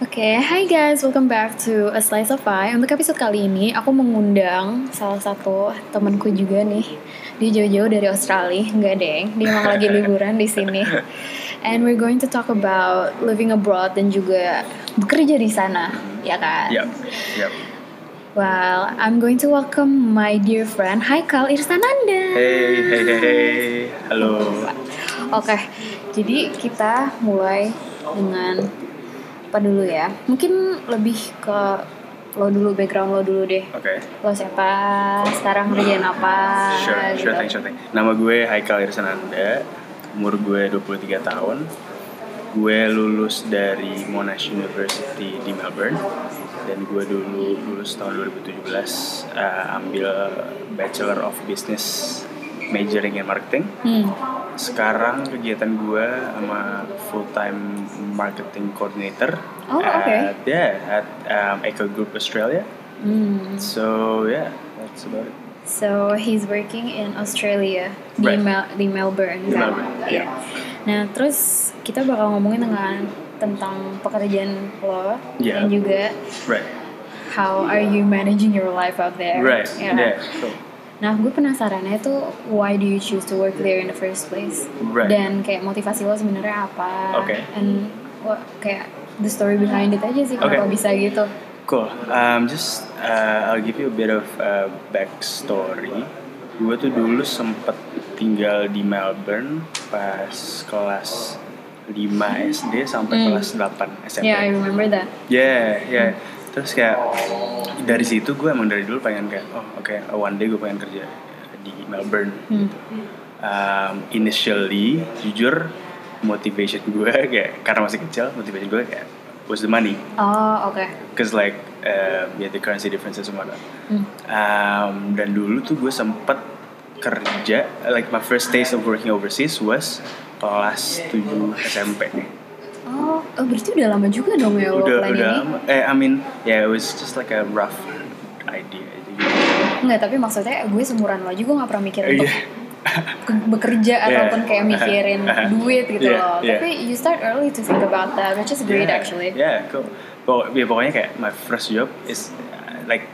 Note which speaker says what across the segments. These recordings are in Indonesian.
Speaker 1: Oke, hi guys, welcome back to A Slice of Pie. Untuk episode kali ini, aku mengundang salah satu temanku juga nih. Dia jauh-jauh dari Australia, nggak deng. Dia emang lagi liburan di sini. And we're going to talk about living abroad dan juga bekerja di sana, ya kan?
Speaker 2: Yep, yep.
Speaker 1: Well, I'm going to welcome my dear friend Haikal Irsananda.
Speaker 2: Hey, hey, hey, hey. Halo.
Speaker 1: Oke, jadi kita mulai dengan apa dulu ya? Mungkin lebih ke lo dulu background lo dulu deh.
Speaker 2: Oke.
Speaker 1: Lo siapa? Sekarang kerjaan apa?
Speaker 2: Sure,
Speaker 1: gitu.
Speaker 2: sure thing, sure thing. Nama gue Haikal Irsananda. Umur gue 23 tahun. Gue lulus dari Monash University di Melbourne. Dan gue dulu lulus tahun 2017 eh, ambil Bachelor of Business majoring in marketing.
Speaker 1: Hmm.
Speaker 2: Sekarang kegiatan gue sama full time marketing coordinator
Speaker 1: Oh,
Speaker 2: at
Speaker 1: okay.
Speaker 2: yeah at um, Eco Group Australia.
Speaker 1: Hmm.
Speaker 2: So yeah, that's about it.
Speaker 1: So he's working in Australia di
Speaker 2: Right.
Speaker 1: Mel- di Melbourne.
Speaker 2: Di
Speaker 1: kan?
Speaker 2: Melbourne,
Speaker 1: Iya.
Speaker 2: yeah.
Speaker 1: Nah, terus kita bakal ngomongin dengan tentang pekerjaan lo
Speaker 2: Yeah.
Speaker 1: dan juga
Speaker 2: Right,
Speaker 1: how are you managing your life out there.
Speaker 2: right,
Speaker 1: ya kan?
Speaker 2: yeah, cool.
Speaker 1: Nah, gue penasarannya itu why do you choose to work there in the first place?
Speaker 2: Right.
Speaker 1: Dan kayak motivasi lo sebenarnya apa?
Speaker 2: Oke.
Speaker 1: And what kayak the story behind it aja sih
Speaker 2: Oke.
Speaker 1: kenapa bisa gitu.
Speaker 2: Cool. Um, just uh, I'll give you a bit of uh, backstory. Gue tuh dulu sempet tinggal di Melbourne pas kelas 5 SD
Speaker 1: Hmm.
Speaker 2: sampai kelas 8 SMP.
Speaker 1: Yeah, I remember that.
Speaker 2: Yeah, yeah. Terus kayak dari situ gue emang dari dulu pengen kayak oh oke one day gue pengen kerja di Melbourne.
Speaker 1: Hmm.
Speaker 2: Um, initially jujur motivation gue kayak karena masih kecil motivation gue kayak was the money
Speaker 1: Oh, oke.
Speaker 2: cause like um, yeah the currency differences and whatnot.
Speaker 1: Hmm.
Speaker 2: kan. Um, dan dulu tuh gue sempet kerja like my first days of working overseas was kelas 7 SMP.
Speaker 1: Oh, oh, berarti udah lama juga dong ya lo
Speaker 2: udah
Speaker 1: plan
Speaker 2: udah
Speaker 1: ini?
Speaker 2: eh I mean yeah it was just like a rough idea aja gitu.
Speaker 1: Enggak, tapi maksudnya gue seumuran lo juga gak pernah mikir
Speaker 2: Eh,
Speaker 1: untuk
Speaker 2: yeah.
Speaker 1: ke- bekerja ataupun kayak mikirin duit gitu
Speaker 2: Uh-huh. Yeah,
Speaker 1: loh.
Speaker 2: yeah.
Speaker 1: Tapi you start early to think about that, which is great
Speaker 2: yeah.
Speaker 1: actually.
Speaker 2: yeah cool Pok- ya, pokoknya kayak my first job is uh, like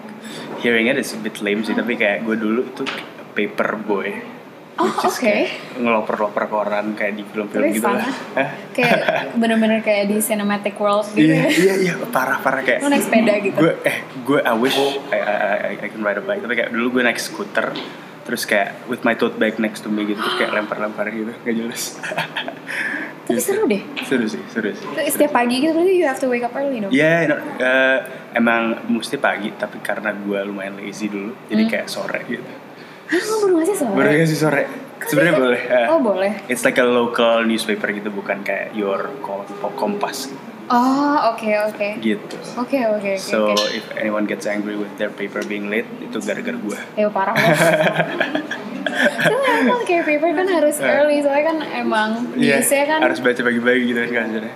Speaker 2: hearing it is a bit lame sih tapi kayak gue dulu tuh paper boy
Speaker 1: Oh,
Speaker 2: Which is
Speaker 1: oke.
Speaker 2: kayak ngeloper-loper koran kayak di film-film
Speaker 1: Tapi
Speaker 2: gitu
Speaker 1: fun
Speaker 2: lah.
Speaker 1: ah.
Speaker 2: Hah?
Speaker 1: kayak bener-bener kayak di cinematic world gitu ya.
Speaker 2: Iya, iya, iya, parah-parah kayak.
Speaker 1: Lu naik sepeda gitu?
Speaker 2: Gue, eh, gue I wish I, I, I, I can ride a bike. Tapi kayak dulu gue naik skuter, terus kayak with my tote bag next to me gitu, terus kayak lempar-lempar gitu, gak jelas.
Speaker 1: Tapi seru deh.
Speaker 2: seru sih, seru sih.
Speaker 1: Terus Setiap pagi gitu berarti you have to wake up early dong.
Speaker 2: Ya, no, eh, emang mesti pagi, tapi karena gue lumayan lazy dulu, jadi kayak sore gitu.
Speaker 1: Hah, lo baru ngasih Hmm. sore?
Speaker 2: Baru sih sore, sebenarnya boleh. eh.
Speaker 1: Oh, boleh.
Speaker 2: It's like a local newspaper gitu, bukan kayak your kom- kompas
Speaker 1: Oh, oke oke.
Speaker 2: gitu.
Speaker 1: Oke oke oke.
Speaker 2: So iya.
Speaker 1: oke.
Speaker 2: if anyone gets angry with their paper being late, itu gara-gara gue.
Speaker 1: Ya parah banget. Soalnya emang kayak paper kan harus early soalnya kan emang biasanya kan
Speaker 2: Eh. Iya, Harus baca pagi-pagi gitu kan sebenarnya.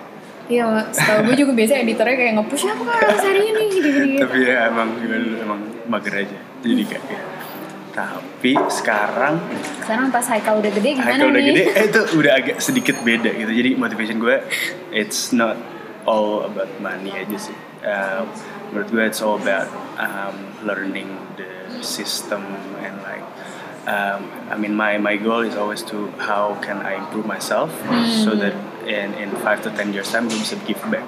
Speaker 1: Iya, setahu gue juga biasanya editornya kayak nge-push aku kan harus hari ini gini-gini.
Speaker 2: Tapi ya emang gimana dulu, emang mager aja. Jadi kayak. ya. Tapi sekarang
Speaker 1: Sekarang pas Haikal udah gede gimana
Speaker 2: Haikal udah
Speaker 1: nih?
Speaker 2: gede, eh, itu udah agak sedikit beda gitu. Jadi motivation gue, it's not all about money aja sih. Um, menurut gue it's all about um, learning the system and like um, I mean my my goal is always to how can I improve myself so
Speaker 1: Hmm.
Speaker 2: that in in five to ten years time gue bisa give back.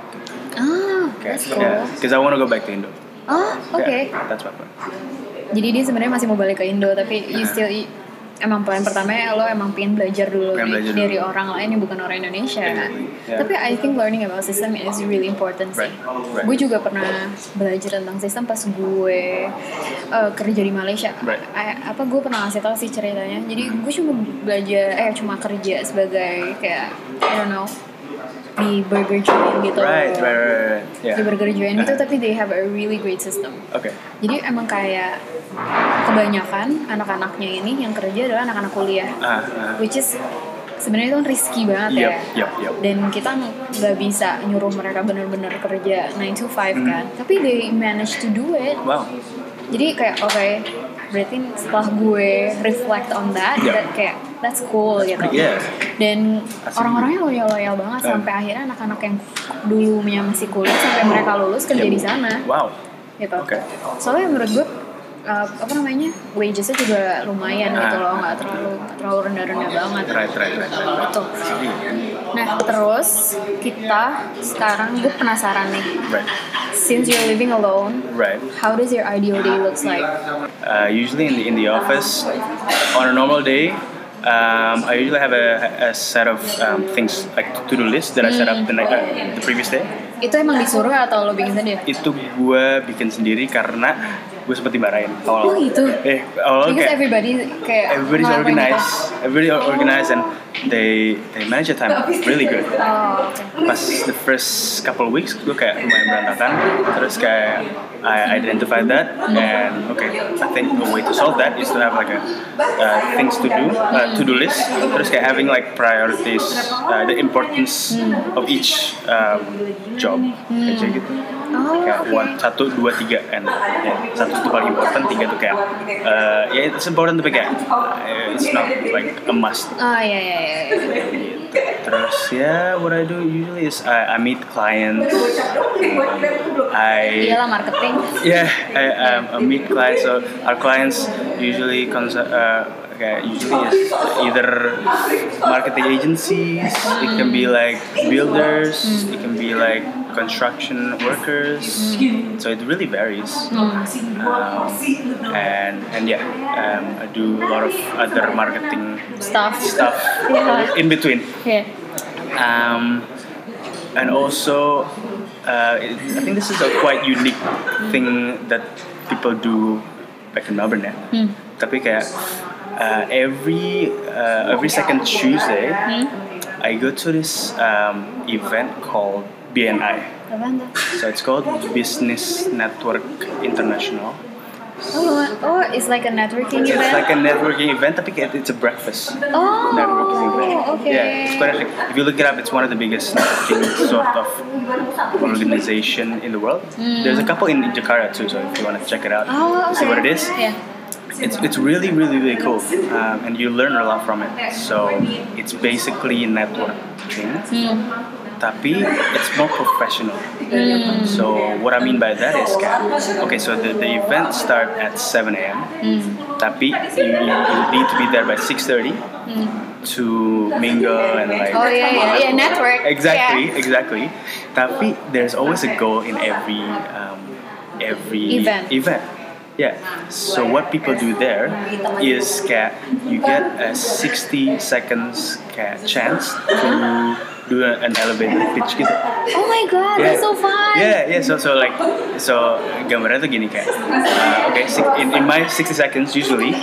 Speaker 1: Ah,
Speaker 2: Okay.
Speaker 1: that's cool.
Speaker 2: Yeah, because I want to go back to Indo.
Speaker 1: Oh, oke.
Speaker 2: Yeah, that's my plan.
Speaker 1: Jadi dia sebenarnya masih mau balik ke Indo tapi you
Speaker 2: Hmm.
Speaker 1: still emang plan pertamanya lo emang pengen belajar dulu
Speaker 2: Pengen
Speaker 1: nih
Speaker 2: belajar
Speaker 1: dari
Speaker 2: dulu.
Speaker 1: orang lain yang bukan orang Indonesia.
Speaker 2: Exactly. Yeah.
Speaker 1: Tapi I think learning about system is really important sih.
Speaker 2: Right. Right.
Speaker 1: Gue juga pernah belajar tentang sistem pas gue eh, kerja di Malaysia.
Speaker 2: Right.
Speaker 1: I- apa gue pernah ngasih tau sih ceritanya. Jadi gue cuma belajar eh cuma kerja sebagai kayak I don't know di burger joint gitu.
Speaker 2: Right, right, right, right. Yeah.
Speaker 1: Di burger joint gitu
Speaker 2: Uh-huh.
Speaker 1: tapi they have a really great system.
Speaker 2: Okay.
Speaker 1: Jadi emang kayak kebanyakan anak-anaknya ini yang kerja adalah anak-anak kuliah,
Speaker 2: Ah, ah.
Speaker 1: which is sebenarnya itu kan risky banget
Speaker 2: Yep,
Speaker 1: ya.
Speaker 2: yep, yep.
Speaker 1: Dan kita nggak bisa nyuruh mereka bener-bener kerja 9 to 5 kan, tapi they manage to do it.
Speaker 2: Mm-hmm. Wow.
Speaker 1: Jadi kayak oke, berarti setelah gue reflect on that,
Speaker 2: Yep.
Speaker 1: that kayak that's cool gitu.
Speaker 2: Iya. pretty- yeah.
Speaker 1: dan
Speaker 2: Asik.
Speaker 1: orang-orangnya loyal loyal banget
Speaker 2: Ah.
Speaker 1: sampai akhirnya anak-anak yang dulunya masih kuliah sampai mereka lulus kerja di sana
Speaker 2: Iya. Wow.
Speaker 1: gitu
Speaker 2: Oke.
Speaker 1: soalnya menurut gue uh, apa namanya wagesnya juga lumayan gitu
Speaker 2: Ah.
Speaker 1: loh nggak terlalu nggak terlalu rendah-rendah banget
Speaker 2: Right, right, right.
Speaker 1: Betul.
Speaker 2: Iya.
Speaker 1: nah terus kita sekarang gue penasaran nih
Speaker 2: Right.
Speaker 1: since you're living alone
Speaker 2: Right.
Speaker 1: how does your ideal day looks like
Speaker 2: Uh, usually in the, in the office, on a normal day, um, I usually have a, a set of um, things like to do list that I set
Speaker 1: Hmm.
Speaker 2: up the, night, uh, the previous day.
Speaker 1: itu emang disuruh atau lo bikin sendiri
Speaker 2: Itu gue bikin sendiri karena gue sempat dimarahin awal.
Speaker 1: Oh, gitu?
Speaker 2: Eh,
Speaker 1: because
Speaker 2: awal
Speaker 1: gitu?
Speaker 2: kayak
Speaker 1: everybody kayak
Speaker 2: everybody's
Speaker 1: ngelakuin
Speaker 2: organized, everybody are organized and they they manage their time really good.
Speaker 1: itu. oh, oke.
Speaker 2: Pas the first couple of weeks gue kayak lumayan berantakan, terus kayak I identified that and okay, I think a way to solve that is to have like a uh, things to do, uh, to do list, terus kayak having like priorities, uh, the importance of each um, job aja gitu.
Speaker 1: Oh,
Speaker 2: kayak
Speaker 1: oke.
Speaker 2: one, satu, dua, tiga, and ya, satu itu paling important, tiga itu kayak uh, ya it's important tapi kayak uh, it's not like a must
Speaker 1: oh iya iya iya iya.
Speaker 2: gitu. Terus ya what I do usually is I, I meet clients. I
Speaker 1: iyalah marketing
Speaker 2: yeah I, um, I meet clients. So our clients usually cons- uh, okay, usually is either marketing agencies. It can be like builders. It can be like construction workers. So it really varies. Um, and and yeah, um, I do a lot of other marketing
Speaker 1: stuff
Speaker 2: stuff
Speaker 1: Yeah.
Speaker 2: in between
Speaker 1: yeah.
Speaker 2: um, and also uh, it, I think this is a quite unique thing that people do back in Melbourne ya.
Speaker 1: Hmm.
Speaker 2: Tapi kayak uh, every uh, every second Tuesday, I go to this um, event called BNI.
Speaker 1: apaan tuh
Speaker 2: So it's called Business Network International.
Speaker 1: oh, lu- oh it's like a networking
Speaker 2: It's
Speaker 1: event
Speaker 2: like a networking event, tapi kayak it's a breakfast.
Speaker 1: oh
Speaker 2: networking event.
Speaker 1: oke
Speaker 2: Yeah, it's quite actually, if you look it up, it's one of the biggest networking sort of organization in the world. There's a couple in Jakarta too, so if you want to check it out,
Speaker 1: Mm. Oh, okay.
Speaker 2: see what it is.
Speaker 1: Yeah.
Speaker 2: It's, it's really, really, really cool, um, and you learn a lot from it. So it's basically networking,
Speaker 1: Hmm.
Speaker 2: tapi it's more professional.
Speaker 1: Mm.
Speaker 2: So what I mean by that is, kayak- okay, so the, the event start at 7 a.m.
Speaker 1: Hmm.
Speaker 2: Tapi you, you you need to be there by 6.30 to mingle and like...
Speaker 1: Oh iya iya iya network.
Speaker 2: Exactly,
Speaker 1: Yeah.
Speaker 2: exactly. Tapi there's always a goal in every um, every
Speaker 1: Event.
Speaker 2: Yeah. So what people do there is kayak you get a 60 seconds kayak chance to do a- an elevator pitch gitu.
Speaker 1: Oh my god,
Speaker 2: Yeah.
Speaker 1: that's so fun.
Speaker 2: Yeah, yeah. So, so like, so gambarnya tuh gini kayak. uh, okay, six, in, in my 60 seconds usually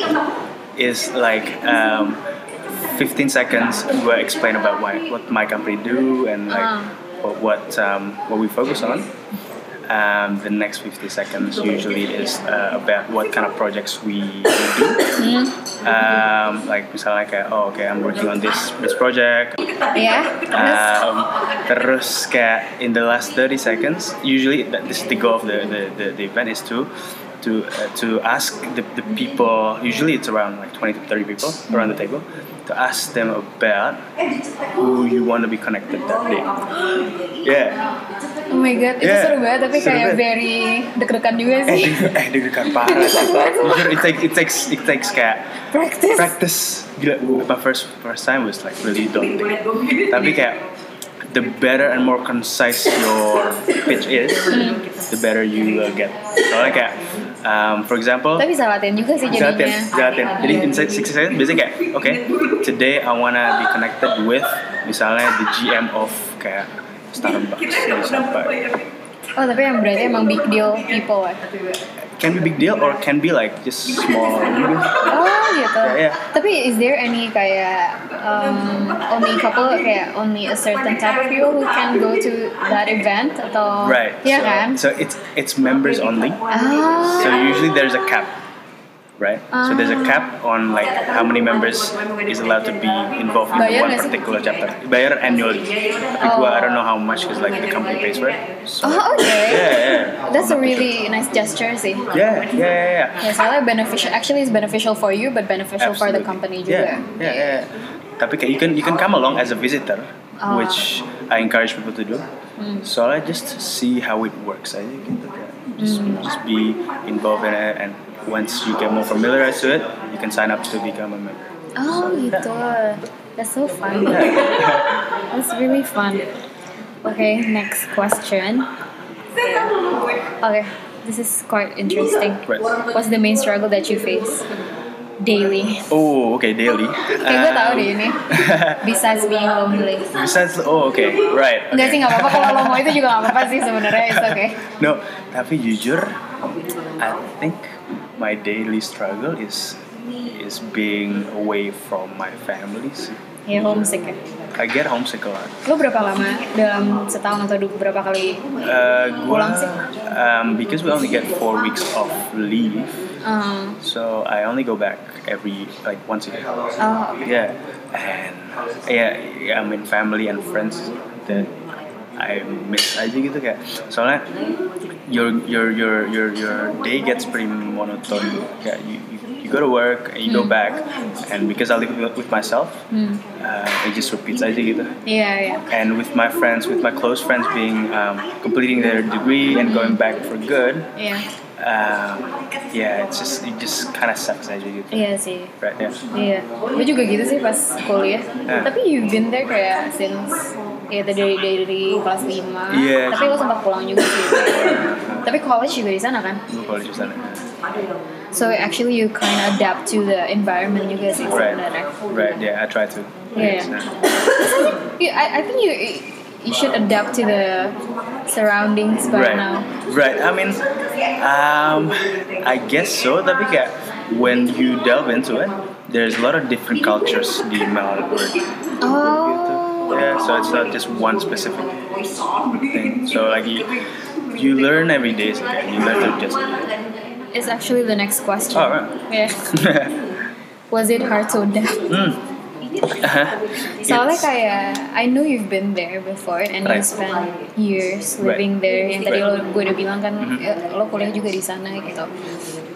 Speaker 2: is like um, 15 seconds gue explain about why, what my company do and like
Speaker 1: Uh-huh.
Speaker 2: what what um, what we focus on. Um, the next 50 seconds usually is uh, about what kind of projects we do. Um, like misalnya kayak, oh okay, I'm working on this this project.
Speaker 1: Yeah. Terus
Speaker 2: Um, terus kayak in the last 30 seconds, usually that this is the goal of the the, the, the event is to to uh, to ask the, the people. Usually it's around like 20 to 30 people around the table to ask them about who you want to be connected that day. Yeah.
Speaker 1: oh my god, itu
Speaker 2: Yeah.
Speaker 1: seru banget tapi
Speaker 2: Seru
Speaker 1: kayak
Speaker 2: banget.
Speaker 1: very deg-degan juga
Speaker 2: Eh,
Speaker 1: sih.
Speaker 2: deg- eh deg-degan parah sih. Jujur, it takes it takes it takes kayak
Speaker 1: Practice.
Speaker 2: practice. Gila, my first first time was like really daunting. Tapi kayak the better and more concise your pitch is,
Speaker 1: Mm-hmm.
Speaker 2: the better you will get. Soalnya kayak, um, for example,
Speaker 1: Tapi bisa latihan juga sih
Speaker 2: bisa latihan,
Speaker 1: jadinya.
Speaker 2: bisa latihan. Jadi inside 60 seconds biasanya kayak, oke, today I wanna be connected with misalnya the GM of kayak Starbucks jadi sampai
Speaker 1: Oh, tapi yang berarti emang big deal people ya.
Speaker 2: can be big deal or can be like just small
Speaker 1: Oh, gitu.
Speaker 2: Yeah, yeah.
Speaker 1: Tapi is there any kayak um, only couple kayak only a certain type of people who can go to that event atau
Speaker 2: right
Speaker 1: Iya
Speaker 2: so,
Speaker 1: kan?
Speaker 2: so it's it's members only
Speaker 1: Ah.
Speaker 2: So usually there's a cap, right? so there's a cap on like how many members is allowed to be involved in
Speaker 1: Bayar
Speaker 2: one
Speaker 1: nggak sih?
Speaker 2: particular chapter. Bayar annually. Tapi gua, I don't know how much is like the company pays for it. So,
Speaker 1: Oh, oke.
Speaker 2: yeah, yeah.
Speaker 1: That's a really nice gesture sih.
Speaker 2: Yeah, yeah, yeah, yeah.
Speaker 1: Ya soalnya beneficial, actually it's beneficial for you but beneficial for the
Speaker 2: Absolutely.
Speaker 1: company
Speaker 2: Yeah,
Speaker 1: juga.
Speaker 2: yeah, yeah. Tapi kayak you can you can come along as a visitor,
Speaker 1: Ah. Hmm.
Speaker 2: which I encourage people to do. Soalnya just see how it works aja gitu kayak just,
Speaker 1: Hmm.
Speaker 2: just be involved in it and once you get more familiarized to it, you can sign up to become a member.
Speaker 1: Oh gitu. That's so fun. That's really fun. Okay, next question. Okay, this is quite interesting.
Speaker 2: Right.
Speaker 1: What's the main struggle that you face daily?
Speaker 2: Oh, okay, daily.
Speaker 1: Kayak gue tahu
Speaker 2: Um,
Speaker 1: deh ini. Besides being lonely.
Speaker 2: Besides, oh okay, right.
Speaker 1: Enggak
Speaker 2: okay.
Speaker 1: sih, nggak apa-apa. Kalau lo mau itu juga nggak apa-apa sih sebenarnya. It's okay.
Speaker 2: no, tapi jujur, I think my daily struggle is is being away from my family. sih.
Speaker 1: Ya, homesick ya.
Speaker 2: I get homesick a lot.
Speaker 1: Lo berapa lama dalam setahun atau du- berapa kali?
Speaker 2: Uh,
Speaker 1: Pulang sih.
Speaker 2: um, because we only get four weeks of leave,
Speaker 1: Um,
Speaker 2: so I only go back every like once a year.
Speaker 1: oh,
Speaker 2: Yeah, and yeah, yeah, I mean family and friends that I miss aja gitu kayak soalnya your your your your your day gets pretty monotone kayak you you, you go to work and you go back and because I live with- with myself uh, it just repeats aja gitu
Speaker 1: iya iya.
Speaker 2: and with my friends with my close friends being um, completing their degree and going back for good
Speaker 1: Iya,
Speaker 2: um, yeah it's just it just kind of sucks aja gitu
Speaker 1: iya sih.
Speaker 2: right yeah
Speaker 1: Iya, gue juga gitu sih pas kuliah.
Speaker 2: Eh.
Speaker 1: Tapi you've been there kayak since ya tadi dari, dari, dari kelas 5
Speaker 2: Iya.
Speaker 1: Tapi lo sempat pulang juga sih. Tapi college juga di sana kan.
Speaker 2: gue kalau di sana
Speaker 1: So actually you kind of adapt to the environment juga sih
Speaker 2: Right.
Speaker 1: sebenarnya.
Speaker 2: Right. Yeah, I try to.
Speaker 1: Yeah. You- I, I think you you should adapt to the surroundings by
Speaker 2: Right.
Speaker 1: now.
Speaker 2: Right. I mean, um, I guess so. Tapi kayak when you delve into it, there's a lot of different cultures di Melbourne.
Speaker 1: Oh.
Speaker 2: Yeah. So it's not just one specific thing. So like you, you learn every day. So kayak you learn to just.
Speaker 1: It's actually the next question.
Speaker 2: Oh, right.
Speaker 1: Yeah. Was it hard to adapt?
Speaker 2: Hmm. uh-huh.
Speaker 1: Soalnya
Speaker 2: It's-
Speaker 1: kayak I know you've been there before and you
Speaker 2: Right.
Speaker 1: spend years
Speaker 2: Right.
Speaker 1: living there. Yang tadi
Speaker 2: Right. Mm-hmm.
Speaker 1: lo gue udah bilang kan eh, lo kuliah juga di sana gitu.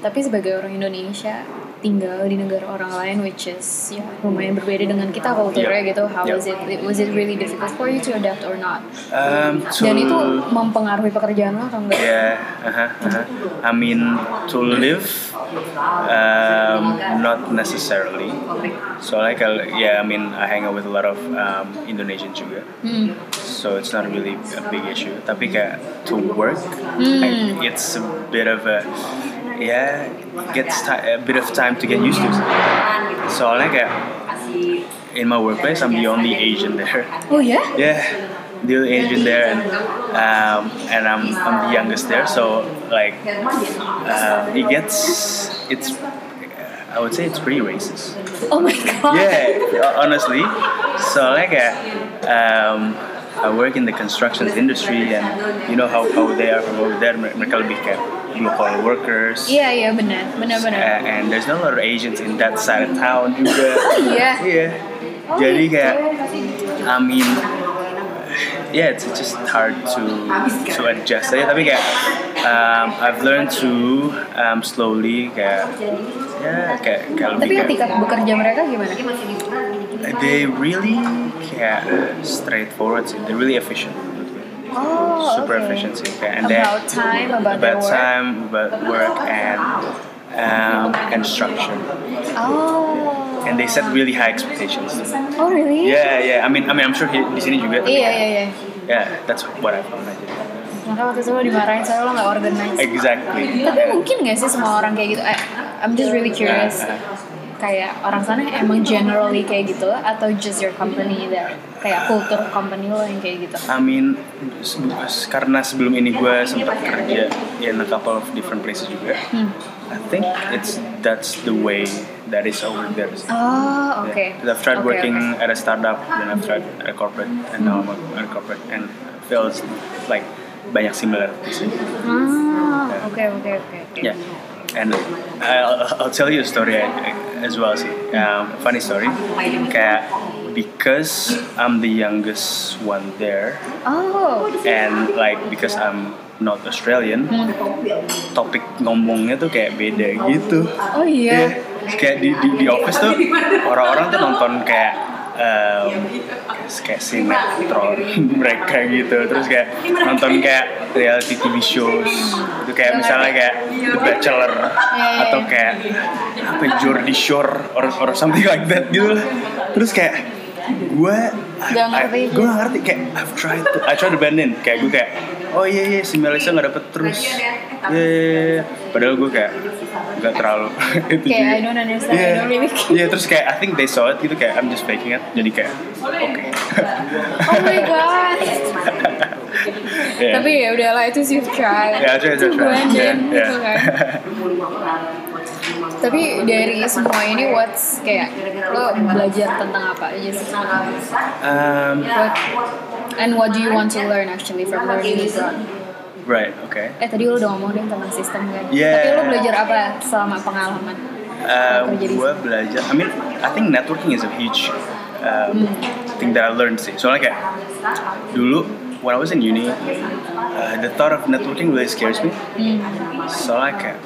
Speaker 1: Tapi sebagai orang Indonesia tinggal di negara orang lain which is ya lumayan berbeda dengan kita kulturnya
Speaker 2: Yeah.
Speaker 1: gitu. How
Speaker 2: Yeah.
Speaker 1: was it? Was it really difficult for you to adapt or not?
Speaker 2: um, to-
Speaker 1: Dan itu mempengaruhi pekerjaan lo atau enggak?
Speaker 2: Yeah, uh-huh, uh-huh. I mean, to live, um, not necessarily. So like, I, yeah, I mean, I hang out with a lot of um, Indonesians juga,
Speaker 1: Hmm.
Speaker 2: so it's not really a big issue. Tapi kayak to work,
Speaker 1: Hmm.
Speaker 2: I- it's a bit of a, yeah, gets ti- a bit of time to get used to. Soalnya kayak in my workplace, I'm the only Asian there.
Speaker 1: Oh ya?
Speaker 2: Yeah, the only Asian there, and um, and I'm I'm the youngest there, so like um, it gets it's I would say it's pretty racist.
Speaker 1: Oh my god.
Speaker 2: Yeah, ho- honestly. So like uh, um, I work in the construction industry, and you know how, how they are from over there. mer- Mereka lebih kayak blue collar workers.
Speaker 1: Iya iya benar benar
Speaker 2: Uh,
Speaker 1: benar.
Speaker 2: and there's not a lot of Asians in that side of town juga.
Speaker 1: Iya.
Speaker 2: Yeah.
Speaker 1: Oh,
Speaker 2: Jadi kayak
Speaker 1: gitu.
Speaker 2: I mean, yeah, it's it's just hard to to adjust. Aja. Tapi kayak um, I've learned to um, slowly kayak yeah kayak kayak
Speaker 1: Tapi
Speaker 2: lebih kayak-
Speaker 1: ketika bekerja mereka gimana?
Speaker 2: they really kayak straightforward sih. They're really efficient.
Speaker 1: Oh,
Speaker 2: Super
Speaker 1: okay.
Speaker 2: efficient sih. Kayak, and then
Speaker 1: About time, about, their
Speaker 2: about
Speaker 1: work.
Speaker 2: time, about work and um, and structure.
Speaker 1: Oh.
Speaker 2: And they set really high expectations.
Speaker 1: Oh really?
Speaker 2: Yeah, yeah. I mean, I mean, I'm sure he- di sini juga.
Speaker 1: Iya iya iya.
Speaker 2: Yeah, that's what I found. aja.
Speaker 1: Maka waktu itu lo dimarahin soalnya lo nggak organize.
Speaker 2: Exactly.
Speaker 1: Tapi mungkin nggak sih semua orang kayak gitu? I, I'm just really curious.
Speaker 2: Uh,
Speaker 1: Kayak orang sana emang generally kayak gitu atau just your company that kayak kultur company lo yang kayak gitu?
Speaker 2: I mean, se- karena sebelum ini gue sempat kerja in a couple of different places juga.
Speaker 1: Hmm.
Speaker 2: I think it's that's the way that is over there.
Speaker 1: Oh, oke.
Speaker 2: Yeah. 'Cause I've tried
Speaker 1: Oke,
Speaker 2: working
Speaker 1: oke.
Speaker 2: at a startup, then I've tried at a corporate, and now I'm at a corporate, and I feel it's like banyak similarities.
Speaker 1: Ah, oke oke oke. oke.
Speaker 2: Yeah, and I'll, I'll tell you a story as well. See, um, funny story. Kayak because I'm the youngest one there,
Speaker 1: Oh,
Speaker 2: and like because I'm not Australian, topik ngomongnya tuh kayak beda gitu.
Speaker 1: oh iya.
Speaker 2: Iya. Kayak di, di, di office tuh orang-orang tuh nonton kayak um, kayak sinetron mereka gitu terus kayak nonton kayak reality TV shows itu kayak misalnya kayak
Speaker 1: Iya.
Speaker 2: The Bachelor atau kayak apa Jordi Shore or, or something like that gitu lah. terus kayak gue
Speaker 1: Gak ngerti.
Speaker 2: gue gak ngerti kayak I've tried to, I tried to band in kayak gue kayak oh iya iya si Melissa gak dapet terus ya padahal gue kayak gak terlalu itu
Speaker 1: Kayak,
Speaker 2: juga.
Speaker 1: I don't understand, I
Speaker 2: Iya.
Speaker 1: don't really care.
Speaker 2: Iya terus kayak I think they saw it gitu kayak I'm just faking it jadi kayak oke
Speaker 1: Oh my god.
Speaker 2: Iya.
Speaker 1: Tapi ya udahlah itu sih try.
Speaker 2: Ya,
Speaker 1: Itu
Speaker 2: itu you've tried.
Speaker 1: Brandon,
Speaker 2: Iya, iya.
Speaker 1: gitu kan. Tapi dari semua ini what's kayak lo belajar tentang apa aja sih?
Speaker 2: um,
Speaker 3: Nah,
Speaker 1: What, and what do you want to learn actually from learning
Speaker 3: gitu.
Speaker 1: this abroad?
Speaker 2: right okay
Speaker 1: Eh tadi lo udah ngomong deh tentang sistem kan.
Speaker 2: Yeah.
Speaker 1: Tapi lo belajar apa selama pengalaman?
Speaker 2: uh,
Speaker 1: Kerja di
Speaker 2: gue belajar I mean I think networking is a huge
Speaker 1: Hmm.
Speaker 2: um, thing that I learned sih soalnya kayak dulu when I was in uni uh, the thought of networking really scares me soalnya kayak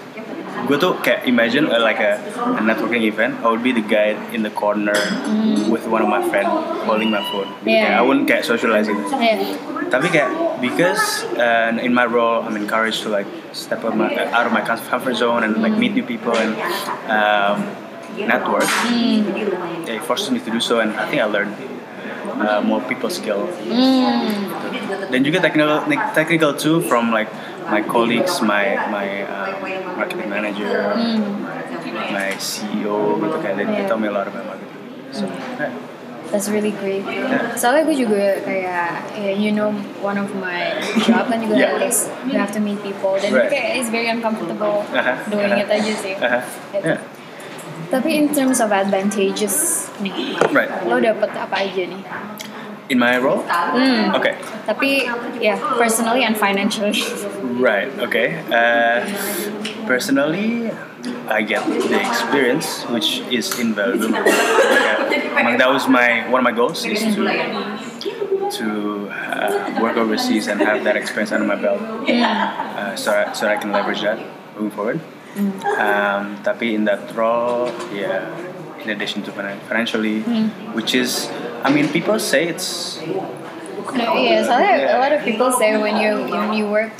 Speaker 2: gue tuh kayak imagine uh, like a, a networking event I would be the guy in the corner with one of my friend holding my phone
Speaker 1: Yeah.
Speaker 2: Kayak I wouldn't kayak socializing
Speaker 1: Eh,
Speaker 2: tapi kayak because uh, in my role I'm encouraged to like step out, my, uh, out of my comfort zone and like meet new people and um, network
Speaker 1: Hmm.
Speaker 2: it forces me to do so and I think I learned uh, more people skill
Speaker 1: Hmm.
Speaker 2: dan juga technical ne- technical too from like my colleagues my my uh, marketing manager
Speaker 1: Hmm.
Speaker 2: my CEO gitu kayak they, they tell me a lot about marketing so yeah.
Speaker 1: That's really great. Soalnya gue juga kayak, ya, you know, one of my job kan juga
Speaker 2: Yeah.
Speaker 1: harus you have to meet people dan
Speaker 2: Right.
Speaker 1: kayak it's very uncomfortable
Speaker 2: Aha,
Speaker 1: doing
Speaker 2: aha.
Speaker 1: it aja sih.
Speaker 2: Aha,
Speaker 1: Gitu.
Speaker 2: yeah.
Speaker 1: Tapi in terms of advantages nih,
Speaker 2: Right.
Speaker 1: lo dapet apa aja nih?
Speaker 2: in my role
Speaker 1: Hmm.
Speaker 2: okay
Speaker 1: Tapi ya personally and financially.
Speaker 2: Right. Okay. Uh, personally, I get the experience, which is invaluable. Yeah. Like, that was my one of my goals is to to uh, work overseas and have that experience under my belt, uh, so I, so I can leverage that moving forward. Um, tapi in that role, yeah. In addition to finan- financially, which is, I mean, people say it's
Speaker 1: No, iya, soalnya a
Speaker 2: Yeah.
Speaker 1: lot of people say when you when you work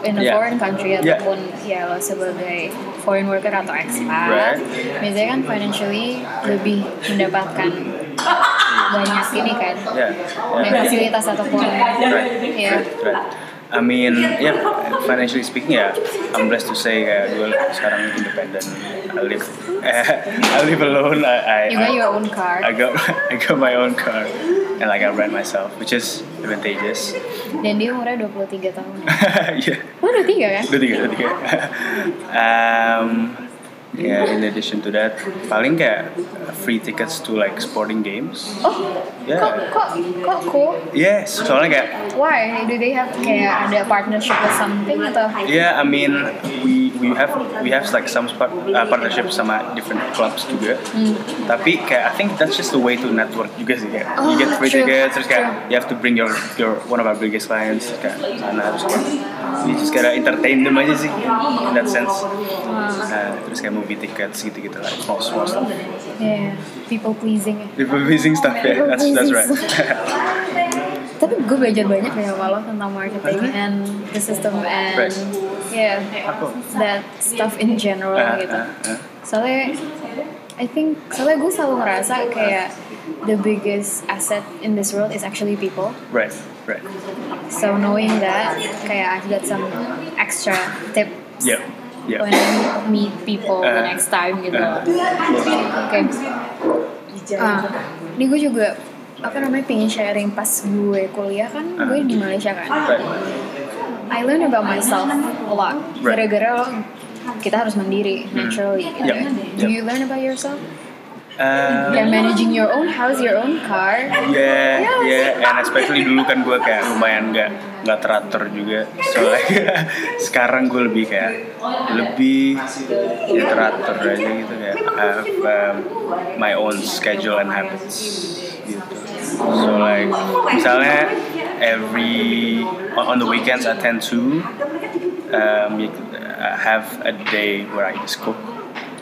Speaker 1: in a
Speaker 2: Yeah.
Speaker 1: foreign country
Speaker 2: Yeah.
Speaker 1: ataupun ya lo sebagai foreign worker atau expat,
Speaker 2: Right.
Speaker 1: biasanya kan financially lebih mendapatkan banyak ini kan,
Speaker 2: yeah,
Speaker 1: banyak
Speaker 2: yeah.
Speaker 1: fasilitas ataupun
Speaker 2: Right.
Speaker 1: ya.
Speaker 2: Right, right. I mean, yeah, financially speaking, yeah, I'm blessed to say uh, gue sekarang independent. I live, I live alone. I, I,
Speaker 1: You got
Speaker 2: I,
Speaker 1: your own
Speaker 2: I
Speaker 1: car,
Speaker 2: got, I got my own car, and like I rent myself, which is advantageous.
Speaker 1: dan dia umurnya 23 tahun.
Speaker 2: yeah,
Speaker 1: Lo udah tiga kan?
Speaker 2: udah tiga, udah tiga. um, yeah, in addition to that, paling kayak uh, free tickets to like sporting games.
Speaker 1: Oh, kok
Speaker 2: Yeah.
Speaker 1: kok kok cool?
Speaker 2: Yes, soalnya kayak
Speaker 1: Why do they have kayak ada partnership with something atau?
Speaker 2: Yeah, I mean, we we have we have like some spa- uh, partnerships sama different clubs juga.
Speaker 1: Hmm.
Speaker 2: Tapi kayak I think that's just the way to network juga sih kayak. you get
Speaker 1: Oh,
Speaker 2: free
Speaker 1: true,
Speaker 2: tickets terus kayak
Speaker 1: true.
Speaker 2: you have to bring your your one of our biggest clients terus kayak sana terus kayak you just gotta entertain them aja sih in that sense. Nah, terus kayak movie tickets gitu-gitu lah, small small stuff.
Speaker 1: Yeah, people pleasing.
Speaker 2: People pleasing stuff ya, that's that's right.
Speaker 1: Tapi gue belajar banyak ya sama lo tentang marketing and the system and
Speaker 2: Uh-huh. Right.
Speaker 1: yeah
Speaker 2: Aku.
Speaker 1: that stuff in general
Speaker 2: Ah,
Speaker 1: gitu.
Speaker 2: ah, ah.
Speaker 1: Soalnya I think soalnya gue selalu ngerasa kayak the biggest asset in this world is actually people.
Speaker 2: Right, right.
Speaker 1: So knowing that kayak I've got some extra tips
Speaker 2: Yeah, yeah.
Speaker 1: when I meet people the
Speaker 2: Ah.
Speaker 1: next time gitu.
Speaker 2: Ah.
Speaker 1: Oke. Ah, ini gue juga apa namanya pengen sharing pas gue kuliah kan
Speaker 2: Uh.
Speaker 1: gue di Malaysia kan.
Speaker 2: Right,
Speaker 1: I learn about myself a lot.
Speaker 2: Right. Hmm.
Speaker 1: Gara-gara kita harus mandiri naturally. gitu
Speaker 2: Yep.
Speaker 1: kan. Do
Speaker 2: Yep.
Speaker 1: you learn about yourself?
Speaker 2: Um,
Speaker 1: Yeah, managing your own house, your own car. Iya
Speaker 2: Yeah, yeah,
Speaker 1: gak
Speaker 2: ya, and especially dulu kan gue kayak lumayan nggak nggak teratur juga, soalnya sekarang gue lebih kayak lebih ya teratur aja gitu kayak I have um, my own schedule and habits gitu. So like misalnya every on, on the weekends I tend to um, I have a day where I just cook.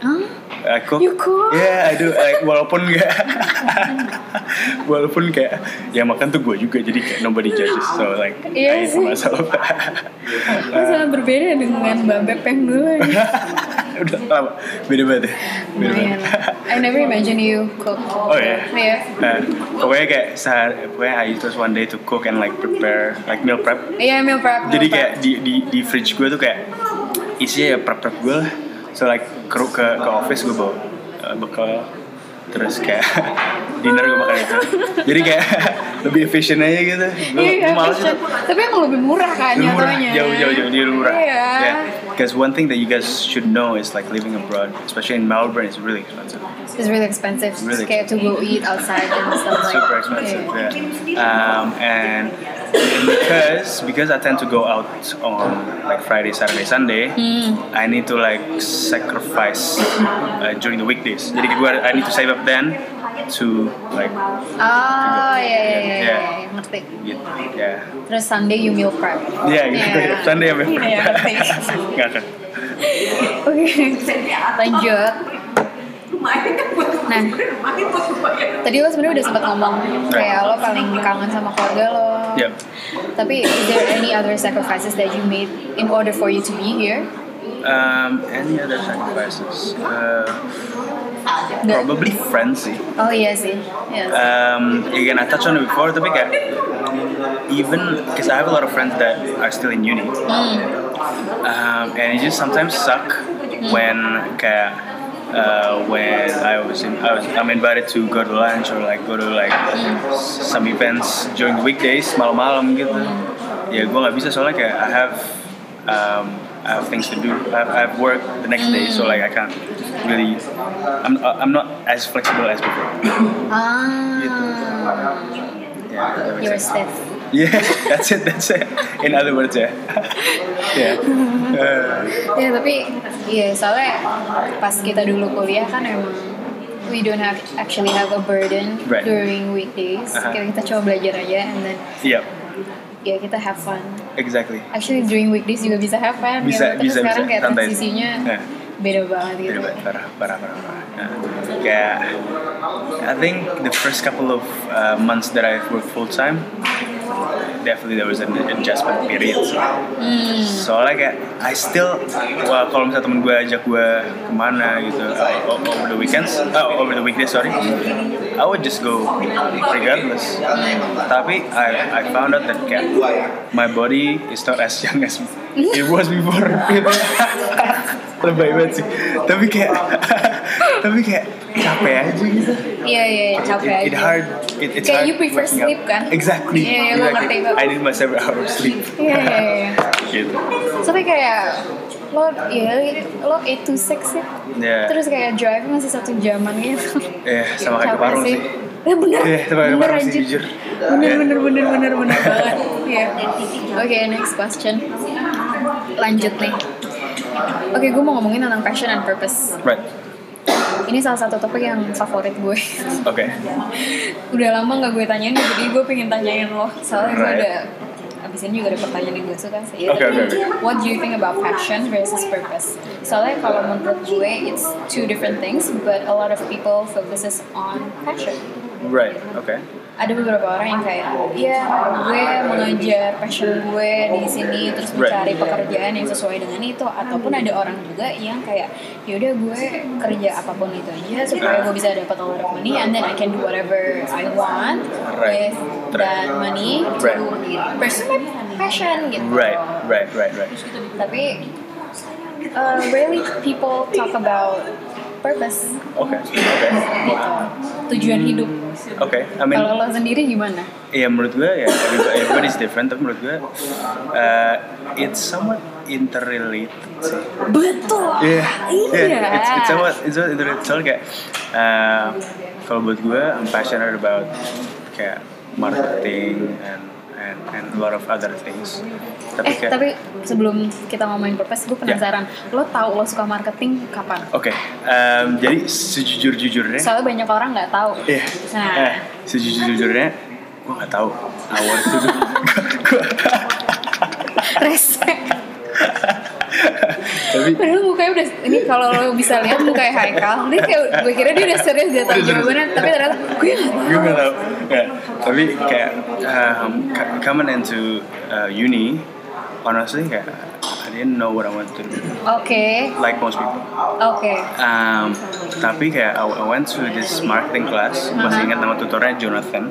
Speaker 1: Huh?
Speaker 2: I cook.
Speaker 1: You cook?
Speaker 2: Ya, Yeah, I do. Like walaupun nggak eh, walaupun kayak yang makan tuh gue juga jadi kayak nobody judges so like
Speaker 1: Iya
Speaker 2: I ain't
Speaker 1: sih.
Speaker 2: masalah
Speaker 1: Ini sangat
Speaker 2: Uh.
Speaker 1: berbeda dengan Mbak Beb yang dulu nih.
Speaker 2: udah lama beda banget ya beda banget
Speaker 1: Lumayan. I never imagine you cook.
Speaker 2: oh ya
Speaker 1: Iya.
Speaker 2: Nah, pokoknya kayak sehari, pokoknya I just one day to cook and like prepare like meal prep
Speaker 1: Iya meal prep. meal
Speaker 2: jadi
Speaker 1: prep.
Speaker 2: kayak di di di fridge gue tuh kayak isinya ya prep prep gue lah so like ke ke ke office gue bawa uh, bekal terus kayak dinner gue makan itu jadi kayak lebih efisien aja gitu gue
Speaker 1: Iya,
Speaker 2: gue malas itu
Speaker 1: Tapi emang lebih murah kan
Speaker 2: lebih murah
Speaker 1: jatuhnya.
Speaker 2: jauh jauh jauh dia lebih murah
Speaker 1: Iya.
Speaker 2: yeah. Because one thing that you guys should know is like living abroad, especially in Melbourne, is really expensive.
Speaker 1: It's really expensive.
Speaker 2: Really
Speaker 1: Just kayak to go eat outside and stuff like.
Speaker 2: super expensive. Yeah. Um, and because because I tend to go out on like Friday, Saturday, Sunday, I need to like sacrifice uh, during the weekdays. Jadi gue I need to save up then to like
Speaker 1: Oh iya iya iya, iya.
Speaker 2: Yeah.
Speaker 1: iya, Ngerti.
Speaker 2: gitu. Yeah.
Speaker 1: Terus Sunday you meal prep.
Speaker 2: Yeah, gitu.
Speaker 1: Iya.
Speaker 2: Sunday sampai
Speaker 1: Iya, ngerti.
Speaker 2: Nggak akan.
Speaker 1: Oke. Lanjut.
Speaker 3: lumayan kan buat
Speaker 1: Nah.
Speaker 3: lumayan buat lumayan
Speaker 1: Tadi lo sebenarnya udah sempat ngomong kayak lo paling kangen sama keluarga lo.
Speaker 2: Yep.
Speaker 1: Tapi is there any other sacrifices that you made in order for you to be here?
Speaker 2: Um, any other sacrifices? Uh,
Speaker 1: The-
Speaker 2: probably friends eh. sih.
Speaker 1: Oh iya sih. Yes.
Speaker 2: um, again, I touched on it before, tapi kayak even because I have a lot of friends that are still in uni, um, and it just sometimes suck when kayak uh, when I was in I was I'm invited to go to lunch or like go to like s- some events during the weekdays malam-malam gitu. Ya gue nggak bisa soalnya kayak I have um, I have things to do. I have, I have work the next day, so like I can't really. I'm I'm not as flexible as before. gitu.
Speaker 1: ah.
Speaker 2: Yeah, that was
Speaker 1: Your
Speaker 2: it.
Speaker 1: stiff.
Speaker 2: Yeah, that's it, that's it. In other words, yeah. yeah. Uh,
Speaker 1: Ya tapi ya soalnya pas kita dulu kuliah kan emang we don't have actually have a burden
Speaker 2: Right. Uh-huh.
Speaker 1: during weekdays.
Speaker 2: Aha.
Speaker 1: Kayak kita coba belajar aja and then
Speaker 2: yeah,
Speaker 1: ya kita have fun.
Speaker 2: exactly.
Speaker 1: Actually during weekdays juga bisa have fun.
Speaker 2: Bisa,
Speaker 1: gitu. Tapi
Speaker 2: bisa,
Speaker 1: sekarang
Speaker 2: bisa.
Speaker 1: kayak
Speaker 2: Santai.
Speaker 1: transisinya
Speaker 2: Ya.
Speaker 1: beda banget gitu.
Speaker 2: Parah, parah, parah, parah. Uh, kayak, I think the first couple of uh, months that I worked full time, definitely there was an adjustment period. sih. Soalnya kayak, I still, well, kalau misalnya temen gue ajak gue kemana gitu, uh, o- over the weekends, oh, over the weekdays, sorry, I would just go regardless. Tapi I, I found out that kayak, my body is not as young as it was before. gitu. Lebay banget sih. Tapi kayak, tapi kayak capek aja gitu.
Speaker 1: Iya iya iya, capek
Speaker 2: It, it
Speaker 1: aja.
Speaker 2: hard. It, it's
Speaker 1: Kayak
Speaker 2: hard
Speaker 1: you prefer
Speaker 2: waking
Speaker 1: sleep, kan?
Speaker 2: Exactly.
Speaker 1: Iya, iya, gua
Speaker 2: exactly.
Speaker 1: ngerti, gua-
Speaker 2: I need my seven hours sleep.
Speaker 1: Iya iya iya.
Speaker 2: gitu.
Speaker 1: Sampai kayak lo ya lo 8 to 6 ya.
Speaker 2: Ya.
Speaker 1: Terus kayak drive masih satu jaman gitu.
Speaker 2: Eh, sama kayak
Speaker 1: Capek
Speaker 2: parung sih.
Speaker 1: Eh bener,
Speaker 2: Iya, sama kayak
Speaker 1: bener
Speaker 2: parung sih
Speaker 1: anjir.
Speaker 2: jujur.
Speaker 1: Bener,
Speaker 2: Iya.
Speaker 1: bener, bener, bener, bener banget. Iya. Oke, next question. Lanjut nih. Oke, gue mau ngomongin tentang passion and purpose.
Speaker 2: Right.
Speaker 1: Ini salah satu topik yang favorit gue.
Speaker 2: Okay.
Speaker 1: udah lama nggak gue tanyain, jadi gue pengen tanyain lo. Soalnya gue
Speaker 2: Right.
Speaker 1: udah abis ini juga ada pertanyaan yang gue suka sih.
Speaker 2: Oke, oke, oke.
Speaker 1: What do you think about passion versus purpose? Soalnya kalau menurut gue, it's two different things, but a lot of people focuses on passion.
Speaker 2: Right. Okay.
Speaker 1: ada beberapa orang yang kayak ya gue mengajar passion gue di sini terus
Speaker 2: Right.
Speaker 1: mencari pekerjaan yang sesuai dengan itu ataupun ada orang juga yang kayak yaudah gue kerja apapun itu aja supaya gue bisa dapat a lot of money and then I can do whatever I want
Speaker 2: Right.
Speaker 1: with that money to
Speaker 2: Right.
Speaker 1: pursue my passion gitu
Speaker 2: Right. Right. Right. Right.
Speaker 1: tapi uh, rarely people talk about purpose
Speaker 2: Okay. Okay.
Speaker 1: gitu tujuan hidup
Speaker 2: Okay. I mean,
Speaker 1: kalau lo sendiri gimana
Speaker 2: ya menurut gue ya everybody, everybody's different tapi menurut gue uh, it's somewhat interrelated sih
Speaker 1: Betul.
Speaker 2: Iya,
Speaker 1: Iya.
Speaker 2: yeah, it's, it's somewhat it's somewhat interrelated soalnya kayak uh, kalau buat gue I'm passionate about kayak marketing and and and a lot of other things tapi
Speaker 1: Eh,
Speaker 2: kayak
Speaker 1: tapi sebelum kita ngomongin purpose, gue
Speaker 2: Ya.
Speaker 1: penasaran. Lo tahu lo suka marketing kapan?
Speaker 2: Oke, um, jadi sejujur-jujurnya
Speaker 1: Soalnya banyak orang nggak tahu.
Speaker 2: Iya.
Speaker 1: Nah,
Speaker 2: Eh, sejujur-jujurnya gue nggak tahu awal itu tuh. Gua- gua-
Speaker 1: respect.
Speaker 2: Tapi
Speaker 1: Padahal mukanya udah ini kalau lo bisa lihat mukanya Haikal, dia kayak gue kira dia udah serius dia tahu jawabannya, tapi ternyata gue nggak tahu.
Speaker 2: gue gak tau Nggak. tapi kayak um, c- coming into uh, uni honestly kayak I didn't know what I wanted to do
Speaker 1: Oke,
Speaker 2: like most people
Speaker 1: oke.
Speaker 2: um, tapi kayak I, I went to this marketing class
Speaker 1: Uh-huh.
Speaker 2: masih ingat nama tutornya Jonathan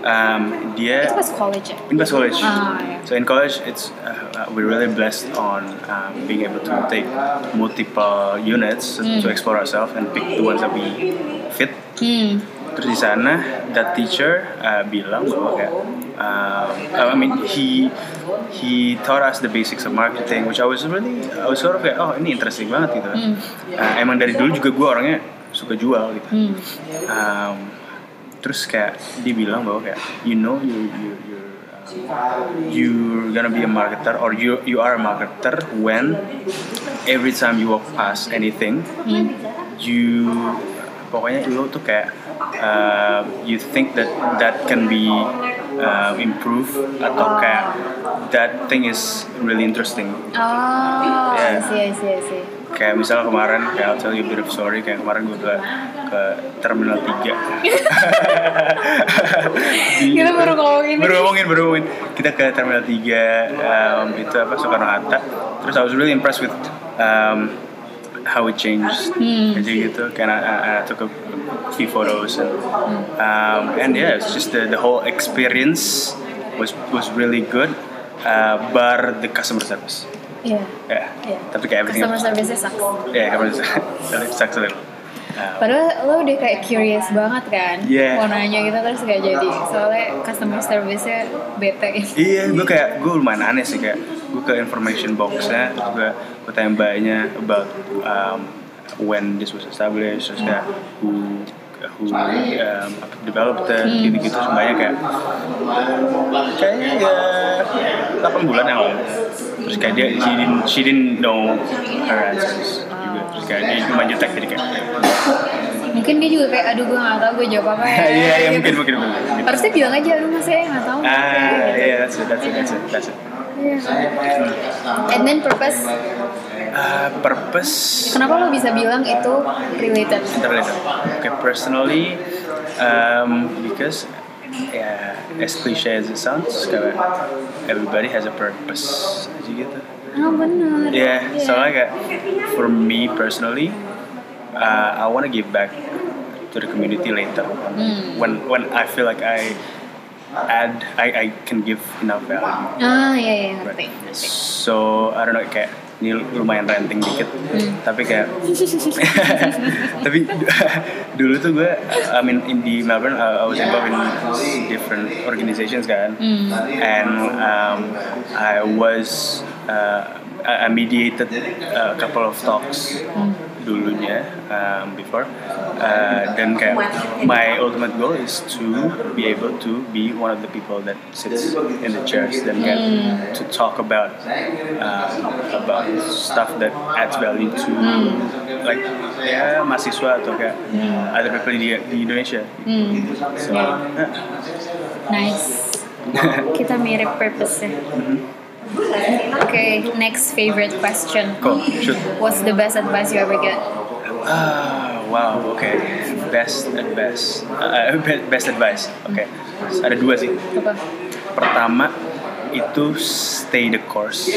Speaker 2: um, dia
Speaker 1: Itu pas college ya.
Speaker 2: in Best College.
Speaker 1: Ah, yeah.
Speaker 2: So in college, it's uh, uh, we're really blessed on um, being able to take multiple units
Speaker 1: Mm.
Speaker 2: to explore ourselves and pick the ones that we fit.
Speaker 1: Hmm.
Speaker 2: Terus di sana, that teacher uh, bilang bahwa kayak, um, I mean he he taught us the basics of marketing, which I was really I was sort of kayak oh ini interesting banget gitu. Uh, emang dari dulu juga gue orangnya suka jual gitu
Speaker 1: Hmm.
Speaker 2: um, terus kayak dibilang bahwa kayak you know you you you're, um, you're gonna be a marketer or you you are a marketer when every time you walk past anything you pokoknya lu tuh kayak uh, you think that that can be uh, improved atau kayak that thing is really interesting
Speaker 1: Oh, I see, I see, I see.
Speaker 2: kayak misalnya kemarin kayak I'll tell you a bit of story kayak kemarin gue ke ke terminal 3 Di-
Speaker 1: Kita baru ngomongin ini.
Speaker 2: baru ngomongin baru ngomongin kita ke terminal 3 um, itu apa Soekarno Hatta terus I was really impressed with um, how it changed
Speaker 1: Hmm.
Speaker 2: jadi gitu karena I, I took a few photos and um, and yeah it's just the, the whole experience was was really good uh, bar the customer service
Speaker 1: Iya.
Speaker 2: yeah.
Speaker 1: Iya.
Speaker 2: tapi kayak everything
Speaker 1: Customer service-nya sucks.
Speaker 2: Yeah, kamu sucks, sucks a little. Uh,
Speaker 1: Padahal lo udah kayak curious banget kan
Speaker 2: Yeah.
Speaker 1: Mau nanya gitu terus gak jadi Soalnya customer service-nya bete gitu.
Speaker 2: iya, gue kayak gue lumayan aneh sih kayak gue ke information boxnya, terus gue gue tanya mbaknya about um, when this was established, terus kayak who who um, developed it, gitu-gitu semuanya kayak kayaknya ya 8 bulan yang lalu terus kayak dia she didn't, she didn't know her answers juga terus kayak dia cuma jutek jadi kayak
Speaker 1: Mungkin dia juga kayak aduh gue gak tau gue jawab apa ya
Speaker 2: iya iya
Speaker 1: gitu.
Speaker 2: mungkin mungkin mungkin gitu.
Speaker 1: Harusnya bilang aja aduh mas saya gak tau
Speaker 2: Ah, yeah, that's it, that's it, that's it, that's it.
Speaker 1: And then purpose
Speaker 2: Uh, purpose
Speaker 1: Kenapa lo bisa bilang itu related?
Speaker 2: interrelated. Okay, personally, um, because yeah, as cliche as it sounds, kayak everybody has a purpose. Jadi gitu.
Speaker 1: Ah bener
Speaker 2: Yeah,
Speaker 1: Iya.
Speaker 2: so like uh, for me personally, uh, I want to give back to the community later
Speaker 1: Hmm.
Speaker 2: when when I feel like I add I, I can give enough value.
Speaker 1: Ah iya iya ngerti
Speaker 2: So I don't know kayak ini lumayan renting dikit, tapi kayak tapi dulu tuh gue I mean in di Melbourne uh, I, I was involved in different organizations kan, and um, I was uh, I I mediated uh, a couple of talks dulunya um, before uh, dan kayak my ultimate goal is to be able to be one of the people that sits in the chairs dan kayak to talk about um, about stuff that adds value to like ya mahasiswa atau kayak other people di, di Indonesia
Speaker 1: Hmm
Speaker 2: so
Speaker 1: Yeah.
Speaker 2: eh,
Speaker 1: Nice Kita mirip purpose-nya Okay, next favorite question
Speaker 2: cool shoot
Speaker 1: What's the best advice you ever get?
Speaker 2: Ah, wow, oke. Best advice. Uh, be- best advice. Oke. Ada dua sih.
Speaker 1: Apa?
Speaker 2: Pertama itu stay the course.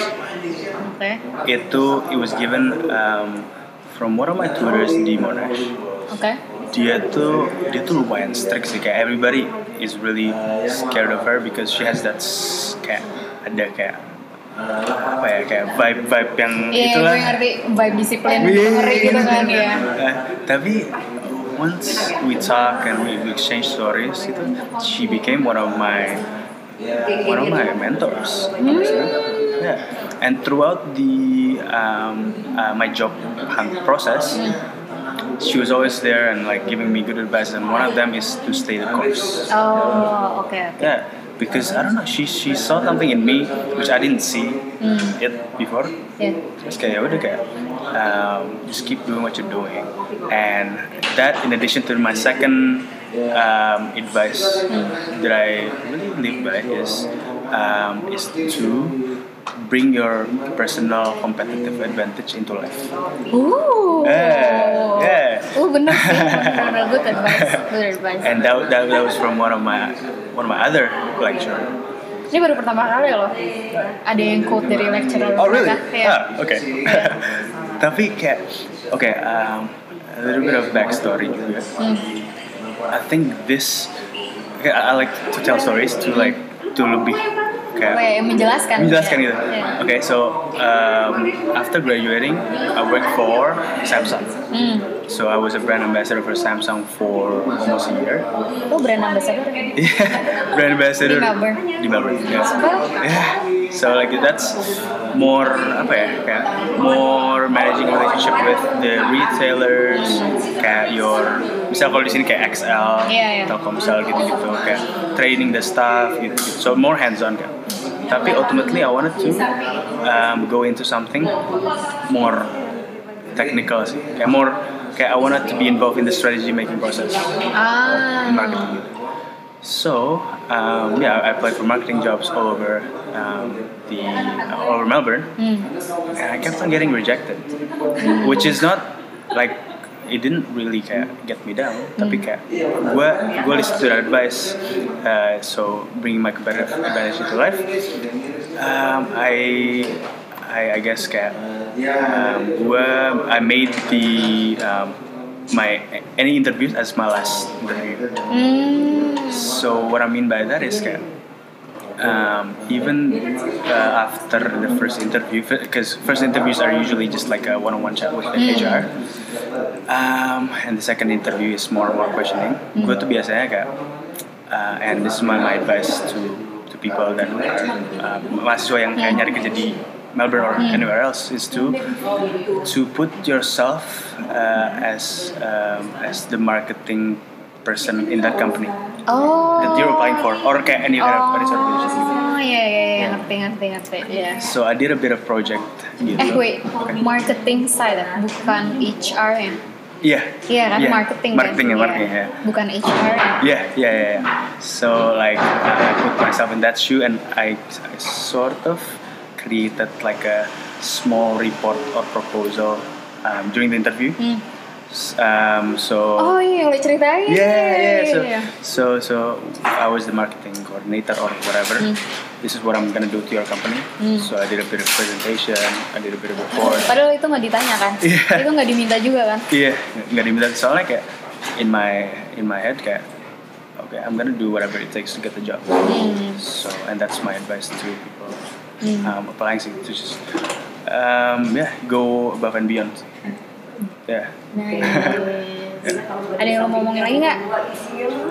Speaker 1: Oke.
Speaker 2: Itu it was given um, from one of my tutors di Monash.
Speaker 1: Oke.
Speaker 2: Dia tuh dia tuh lumayan strict sih kayak everybody is really scared of her because she has that s- kayak ada kayak apa ya kayak vibe vibe yang
Speaker 1: Iya,
Speaker 2: itulah.
Speaker 1: gue ngerti vibe disiplin
Speaker 2: Iya,
Speaker 1: ngeri gitu kan ya.
Speaker 2: Eh, tapi once we talk and we, we exchange stories gitu, she became one of my one of my mentors.
Speaker 1: Hmm.
Speaker 2: honestly. Yeah. And throughout the um, uh, my job hunt process, she was always there and like giving me good advice. And one of them is to stay the course.
Speaker 1: Oh, oke. oke.
Speaker 2: Yeah, because I don't know, she she saw something in me which I didn't see it before.
Speaker 1: Iya.
Speaker 2: Just kayak udah kayak um, just keep doing what you're doing. And that in addition to my second um, advice that I really live by is um, is to bring your personal competitive advantage into life.
Speaker 1: Ooh.
Speaker 2: Yeah, Eh, yeah.
Speaker 1: Oh benar sih, benar good advice, good advice.
Speaker 2: And that, that, that was from one of my one of my other lecturer.
Speaker 1: Ini baru pertama kali loh, ada yang quote dari lecturer
Speaker 2: Oh really?
Speaker 1: mereka. Ya.
Speaker 2: Ah, okay. Tapi kayak, okay, um, a little bit of backstory juga. I think this, okay, I I like to tell stories to like to lebih kayak
Speaker 1: Oke, menjelaskan.
Speaker 2: Ah. menjelaskan gitu.
Speaker 1: Ya.
Speaker 2: Okay, so um, after graduating, I worked for Samsung.
Speaker 1: Hmm.
Speaker 2: So I was a brand ambassador for Samsung for almost a year.
Speaker 1: Oh brand ambassador.
Speaker 2: Iya. Yeah, brand ambassador
Speaker 1: Di Melbourne.
Speaker 2: Di Melbourne, yes.
Speaker 1: Sumpah?
Speaker 2: Yeah. So like that's more apa ya kayak more managing relationship with the retailers kayak your misal kalau di sini kayak XL,
Speaker 1: Iya, iya.
Speaker 2: Telkomsel gitu-gitu kayak training the staff gitu, -gitu. so more hands on kan. Tapi ultimately I wanted to um, go into something more technical sih, kayak more kayak I wanted to be involved in the strategy making process
Speaker 1: Ah.
Speaker 2: marketing. Uh, So um, yeah, I applied for marketing jobs all over um, the all over Melbourne, and I kept on getting rejected, which is not like it didn't really kayak get me down. Tapi kayak gue gue listen to that advice, uh, so bringing my competitive advantage into life. Um, I, I I guess kayak um, gue I made the um, my any interviews as my last interview.
Speaker 1: Hmm.
Speaker 2: So what I mean by that is kayak um, even uh, after the first interview, because first interviews are usually just like a one-on-one chat with the HR, um, and the second interview is more more questioning. Gue tuh biasanya kayak, uh, and this is my, my advice to to people that are uh, mahasiswa yang kayak nyari kerja di Melbourne or anywhere else is to to put yourself uh, as um, as the marketing person in that company
Speaker 1: Oh.
Speaker 2: that you're applying for or kayak any kind of research organization gitu. Iya.
Speaker 1: Oh iya iya iya ngerti ngerti ngerti ya.
Speaker 2: So I did a bit of project gitu.
Speaker 1: Eh wait, marketing side bukan HR ya?
Speaker 2: Iya.
Speaker 1: Iya kan
Speaker 2: iya.
Speaker 1: marketing kan?
Speaker 2: Marketing ya,
Speaker 1: Iya.
Speaker 2: marketing ya.
Speaker 1: Bukan HR. ya?
Speaker 2: Yeah, yeah, yeah, yeah. So like I put myself in that shoe and I, I sort of created like a small report or proposal um, during the interview.
Speaker 1: Hmm.
Speaker 2: S- Um, so
Speaker 1: Oh iya boleh ceritain.
Speaker 2: yeah, yeah.
Speaker 1: Iya,
Speaker 2: So,
Speaker 1: iya.
Speaker 2: so, so I was the marketing coordinator or whatever.
Speaker 1: Mm.
Speaker 2: This is what I'm gonna do to your company. So I did a bit of presentation, I did a bit of report.
Speaker 1: Padahal itu nggak ditanya kan?
Speaker 2: Iya.
Speaker 1: Itu nggak diminta juga kan?
Speaker 2: Iya, nggak diminta soalnya kayak in my in my head kayak okay, I'm gonna do whatever it takes to get the job. So and that's my advice to people um, applying sih, to just um, yeah go above and beyond. Yeah.
Speaker 1: Nice. Ada yang mau ngomongin lagi nggak?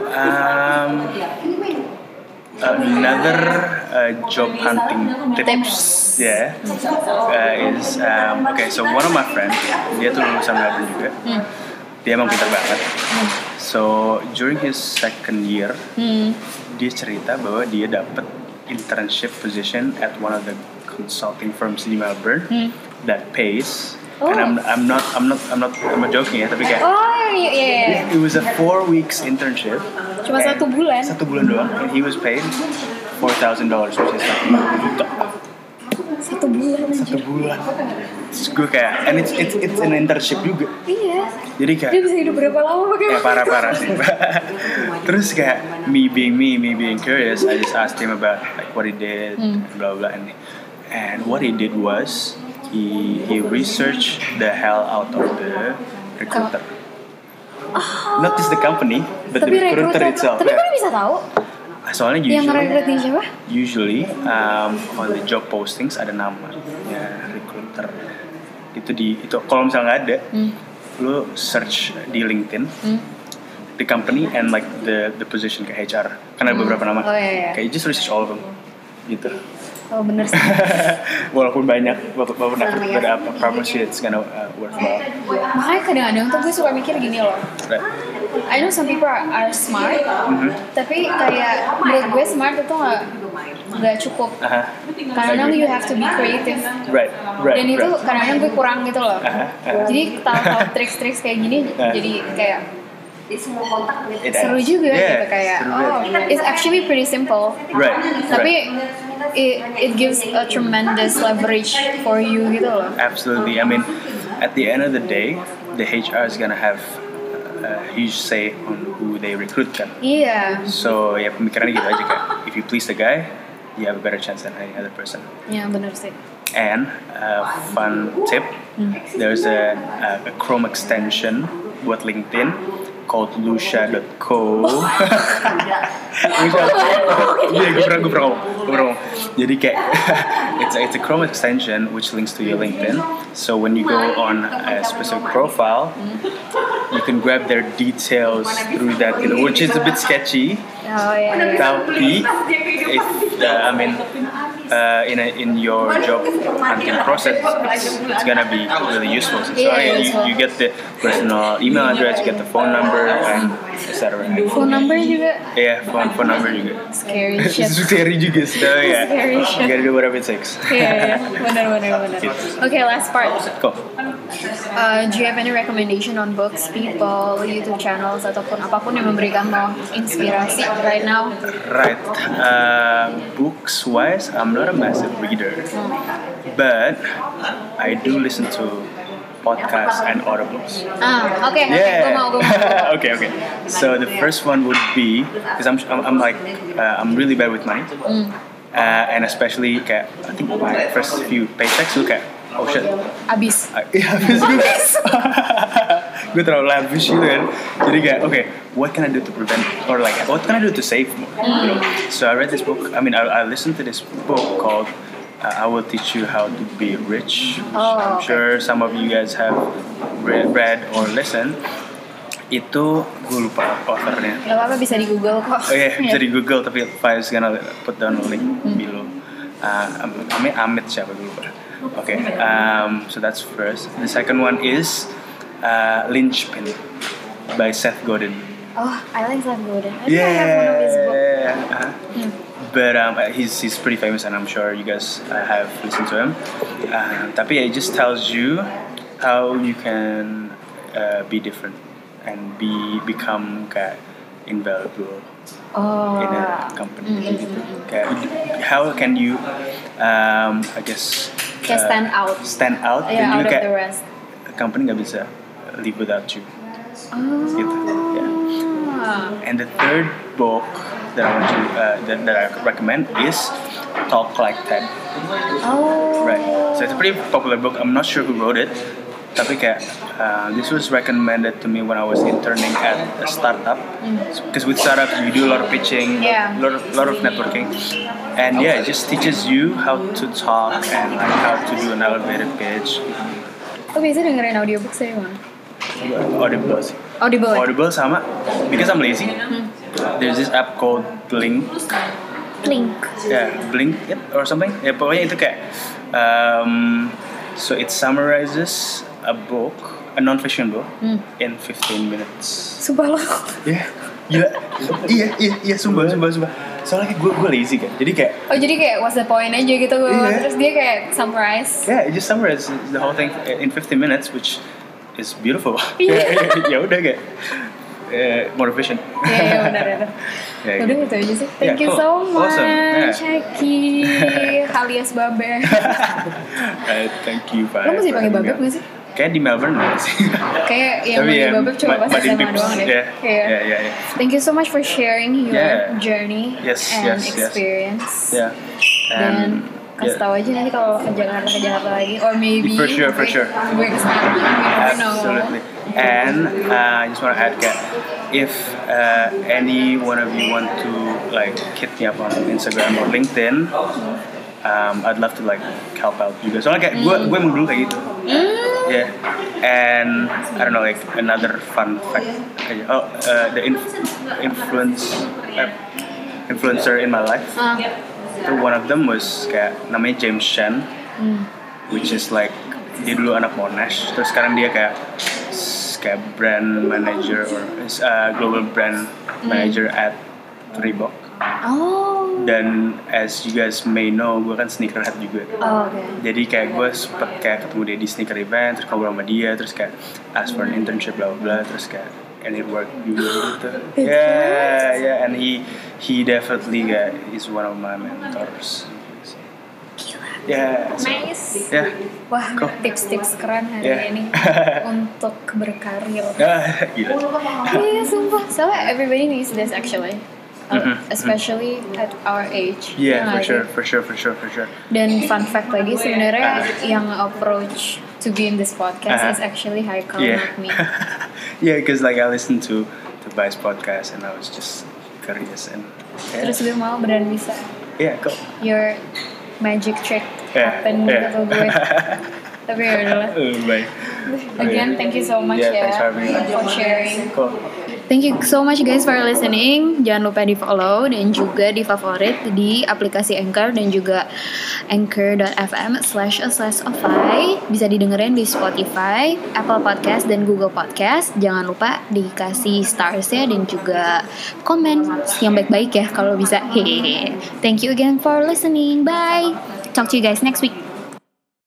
Speaker 2: Um, another uh, job hunting tips, yeah, uh, is um, okay. So one of my friend, dia tuh lulusan Melbourne juga.
Speaker 1: Hmm.
Speaker 2: Dia emang pintar banget. So during his second year,
Speaker 1: Hmm.
Speaker 2: dia cerita bahwa dia dapat internship position at one of the consulting firms in Melbourne
Speaker 1: Hmm.
Speaker 2: that pays.
Speaker 1: Oh.
Speaker 2: And I'm, I'm not I'm not I'm not I'm not joking ya, tapi kayak
Speaker 1: Oh iya iya. iya.
Speaker 2: It was a four weeks internship.
Speaker 1: Cuma
Speaker 2: And-
Speaker 1: satu bulan.
Speaker 2: Satu bulan doang. And he was paid four thousand dollars, which is like empat juta.
Speaker 1: Satu bulan aja.
Speaker 2: Satu bulan. Terus gue kayak, and it's it's it's an internship juga.
Speaker 1: Iya.
Speaker 2: Jadi kayak,
Speaker 1: Dia bisa hidup berapa lama pakai
Speaker 2: ya
Speaker 1: motor?
Speaker 2: parah parah sih. Terus kayak me being me, me being curious, I just asked him about like what he did,
Speaker 1: Hmm.
Speaker 2: blah blah, and and what he did was he he researched the hell out of the recruiter. Not just the company, but
Speaker 1: Tapi
Speaker 2: the recruiter
Speaker 1: rekruter-
Speaker 2: itself.
Speaker 1: Tapi
Speaker 2: yeah.
Speaker 1: kan bisa tahu
Speaker 2: Soalnya
Speaker 1: yang ngerekrut
Speaker 2: usually,
Speaker 1: ini siapa?
Speaker 2: usually um, on the job postings ada nama ya recruiter. Itu di itu kalau misalnya nggak ada,
Speaker 1: Hmm.
Speaker 2: lo search di LinkedIn the company and like the the position kayak HR. Karena Kan ada beberapa nama.
Speaker 1: Oh, iya, iya.
Speaker 2: Kayak you just research all of them. Gitu.
Speaker 1: Oh bener sih.
Speaker 2: walaupun banyak walaupun walaupun aku
Speaker 1: ya.
Speaker 2: ada apa promise you it's gonna uh, worthwhile.
Speaker 1: Makanya kadang-kadang tuh gue suka mikir gini loh.
Speaker 2: Right.
Speaker 1: I know some people are, are smart,
Speaker 2: Mm-hmm.
Speaker 1: tapi kayak menurut gue smart itu nggak nggak cukup.
Speaker 2: Aha.
Speaker 1: Karena you have to be creative.
Speaker 2: Uh-huh. Right. Right.
Speaker 1: Dan itu
Speaker 2: right. Uh-huh,
Speaker 1: kadang-kadang gue kurang gitu loh.
Speaker 2: Aha, aha.
Speaker 1: Jadi tahu-tahu trik-trik kayak gini
Speaker 2: Ah.
Speaker 1: jadi kayak
Speaker 3: Jadi semua kontak with
Speaker 2: It
Speaker 1: seru
Speaker 2: adds.
Speaker 1: juga
Speaker 2: Yeah,
Speaker 1: gitu kayak
Speaker 2: seru
Speaker 1: oh
Speaker 2: banget.
Speaker 1: it's actually pretty simple
Speaker 2: Right,
Speaker 1: tapi it, it gives a tremendous leverage for you gitu loh
Speaker 2: Absolutely. I mean, at the end of the day, the HR is gonna have uh, a huge say on who they recruit kan.
Speaker 1: iya
Speaker 2: So ya pemikirannya gitu aja kayak, if you please the guy, you have a better chance than any other person.
Speaker 1: ya bener sih
Speaker 2: And uh, fun tip, there's a, uh, a, a Chrome extension buat LinkedIn called lucia.co. Iya, gue pernah, gue pernah ngomong, gue pernah ngomong. Jadi kayak, it's a, it's a Chrome extension which links to your LinkedIn. So when you go on a specific profile, you can grab their details through that, you know, which is a bit sketchy.
Speaker 1: oh iya
Speaker 2: Tapi, if, uh, I mean, uh, in, a, in your job hunting process, it's, it's gonna be really useful. So,
Speaker 1: Yeah,
Speaker 2: yeah, you,
Speaker 1: useful.
Speaker 2: you get the personal email address, you get the phone number, and etc.
Speaker 1: phone number juga
Speaker 2: Yeah, phone, phone number juga.
Speaker 1: scary shit
Speaker 2: Scary juga sih, tapi ya.
Speaker 1: Scary shit.
Speaker 2: You gotta do whatever it takes.
Speaker 1: Iya, iya. benar benar benar. Okay, last part.
Speaker 2: Cool.
Speaker 1: Uh, do you have any recommendation on books, people, YouTube channels ataupun apapun yang memberikan lo inspirasi right now?
Speaker 2: Right. Uh, books wise, I'm not a massive reader, but I do listen to podcasts and audiobooks.
Speaker 1: Ah, oke, oke, gue mau, gue mau.
Speaker 2: Yeah. okay, okay. So the first one would be because I'm, I'm I'm like uh, I'm really bad with money, uh, and especially kayak, I think my first few paychecks look at oh shit.
Speaker 1: Abis.
Speaker 2: I- Yeah, habis gue, gue terlalu lavish gitu kan. Jadi kayak, okay, what can I do to prevent or like what can I do to save more? You know?
Speaker 1: Hmm.
Speaker 2: So I read this book. I mean, I, I listened to this book called uh, "I Will Teach You How to Be Rich." which
Speaker 1: Oh,
Speaker 2: I'm
Speaker 1: okay.
Speaker 2: sure some of you guys have read, read or listened. Itu gue lupa authornya.
Speaker 1: Gak apa-apa bisa di Google kok.
Speaker 2: Oh iya,
Speaker 1: Iya.
Speaker 2: bisa di Google tapi Faiz gonna put down link below. Uh, Am- Amit, Amit siapa dulu Pak? Oke, um, so that's first. The second one is uh, Lynchpin by Seth Godin.
Speaker 1: Oh, I like Seth Godin. I think I have one of his books.
Speaker 2: Yeah. Uh-huh. But um, uh, he's he's pretty famous, and I'm sure you guys uh, have listened to him. Uh, tapi yeah, it just tells you how you can uh, be different and be become kayak invaluable
Speaker 1: Oh, Mm-hmm.
Speaker 2: in a company. Kayak, how can you, um, I guess,
Speaker 1: Kayak
Speaker 2: uh,
Speaker 1: stand out.
Speaker 2: Stand out.
Speaker 1: yeah,
Speaker 2: dan
Speaker 1: out
Speaker 2: juga
Speaker 1: of
Speaker 2: kayak,
Speaker 1: the rest.
Speaker 2: company nggak bisa uh, live without you.
Speaker 1: Oh.
Speaker 2: Gitu. Yeah. And the third book that I want to uh, that, that I recommend is Talk Like Ted.
Speaker 1: Oh.
Speaker 2: Right. So it's a pretty popular book. I'm not sure who wrote it. Tapi kayak uh, this was recommended to me when I was interning at a startup. Because with startups you do a lot of pitching,
Speaker 1: Yeah.
Speaker 2: lot of lot of networking, and yeah, it just teaches you how to talk and like how to do an elevated pitch.
Speaker 1: Lo biasa oh, dengerin audiobook dari mana?
Speaker 2: Audible, sih.
Speaker 1: Audible. ya?
Speaker 2: Audible sama. Because I'm lazy,
Speaker 1: Mm-hmm.
Speaker 2: there's this app called Blink.
Speaker 1: Link.
Speaker 2: yeah, blink it or something. Ya pokoknya itu kayak um, so it summarizes a book, a non-fiction book
Speaker 1: Mm.
Speaker 2: in 15 minutes.
Speaker 1: Sumpah lo.
Speaker 2: Yeah. Gila. iya, iya, iya, sumpah, sumpah, sumpah. Soalnya kayak gue gue lazy kan. Jadi kayak
Speaker 1: Oh jadi kayak what's the point aja gitu
Speaker 2: Iya.
Speaker 1: Terus dia kayak summarize
Speaker 2: yeah, it just summarizes the whole thing in 15 minutes which is beautiful.
Speaker 1: Iya.
Speaker 2: ya, ya, ya udah kayak eh, more efficient.
Speaker 1: Iya iya benar benar
Speaker 2: Ya,
Speaker 1: Udah gitu aja sih Thank
Speaker 2: Ya,
Speaker 1: you
Speaker 2: cool.
Speaker 1: so much
Speaker 2: Awesome. Ya.
Speaker 1: Caki alias Babel
Speaker 2: Eh, thank you, Pak.
Speaker 1: Lo masih
Speaker 2: for
Speaker 1: panggil
Speaker 2: having me
Speaker 1: Babeb
Speaker 2: on.
Speaker 1: nggak sih? Iya,
Speaker 2: Kayak di Melbourne nggak sih?
Speaker 1: Kayak yang
Speaker 2: Tapi ya,
Speaker 1: yeah, Babel cuma
Speaker 2: Ma-
Speaker 1: pas
Speaker 2: Madin
Speaker 1: SMA
Speaker 2: Tips. Ya,
Speaker 1: doang deh
Speaker 2: Yeah.
Speaker 1: Iya.
Speaker 2: Yeah, yeah, yeah.
Speaker 1: Thank you so much for sharing your
Speaker 2: Yeah.
Speaker 1: journey
Speaker 2: Yes,
Speaker 1: and
Speaker 2: yes, yes.
Speaker 1: experience
Speaker 2: Yeah.
Speaker 1: Dan
Speaker 2: And
Speaker 1: kasih
Speaker 2: yeah,
Speaker 1: tau aja nanti kalau ke Jakarta ke Jakarta lagi or maybe
Speaker 2: For sure, for
Speaker 1: gue-
Speaker 2: sure.
Speaker 1: gue kesana we never know.
Speaker 2: absolutely. And uh, I just want to add, Kat, if uh, any one of you want to like hit me up on Instagram or LinkedIn, um, I'd love to like help out you guys. Soalnya kayak gue gue emang dulu kayak gitu. Yeah. And I don't know like another fun fact. aja. Oh, uh, the inf- influence uh, influencer in my life.
Speaker 1: Ah,
Speaker 2: So one of them was kayak namanya James Chan, which is like dia dulu anak Monash, terus sekarang dia kayak s- kayak brand manager or is, uh, global brand manager at Reebok.
Speaker 1: oh
Speaker 2: Dan as you guys may know, gue kan sneakerhead juga.
Speaker 1: oh oke
Speaker 2: Jadi kayak gue sempet kayak ketemu dia di sneaker event, terus ngobrol sama dia, terus kayak ask for an internship bla bla, bla, terus kayak and it worked juga gitu.
Speaker 1: It
Speaker 2: yeah, yeah, and he he definitely uh, is one of my mentors. Yeah. so-
Speaker 1: Nice.
Speaker 2: yeah.
Speaker 1: Wah,
Speaker 2: Cool.
Speaker 1: tips-tips keren hari
Speaker 2: Yeah.
Speaker 1: ini untuk berkarir.
Speaker 2: Ah, Gila.
Speaker 1: Iya, sumpah. So everybody needs this actually. Uh,
Speaker 2: Mhm.
Speaker 1: Especially at our age. Ya
Speaker 2: Yeah, for
Speaker 1: nggak
Speaker 2: sure,
Speaker 1: sih?
Speaker 2: for sure, for sure, for sure.
Speaker 1: Dan fun fact lagi sebenarnya
Speaker 2: Ah.
Speaker 1: yang approach to be in this podcast
Speaker 2: Ah.
Speaker 1: is actually Haikal, not me.
Speaker 2: Yeah. yeah, because like I listened to to Vice podcast and I was just curious and yeah,
Speaker 1: Terus gue mau beneran bisa
Speaker 2: yeah cool.
Speaker 1: your magic trick
Speaker 2: Yeah,
Speaker 1: happen
Speaker 2: yeah.
Speaker 1: gitu gue. Tapi ya udahlah.
Speaker 2: Uh, bye.
Speaker 1: Again, thank you so much
Speaker 2: Yeah,
Speaker 1: ya
Speaker 2: thanks for having me.
Speaker 1: for sharing.
Speaker 2: Cool.
Speaker 1: Thank you so much guys for listening. Jangan lupa di follow dan juga di favorit di aplikasi Anchor dan juga anchor.fm slash Bisa didengerin di Spotify, Apple Podcast, dan Google Podcast. Jangan lupa dikasih starsnya dan juga komen yang baik-baik ya kalau bisa. Hehehe. Thank you again for listening. Bye. Talk to you guys next week.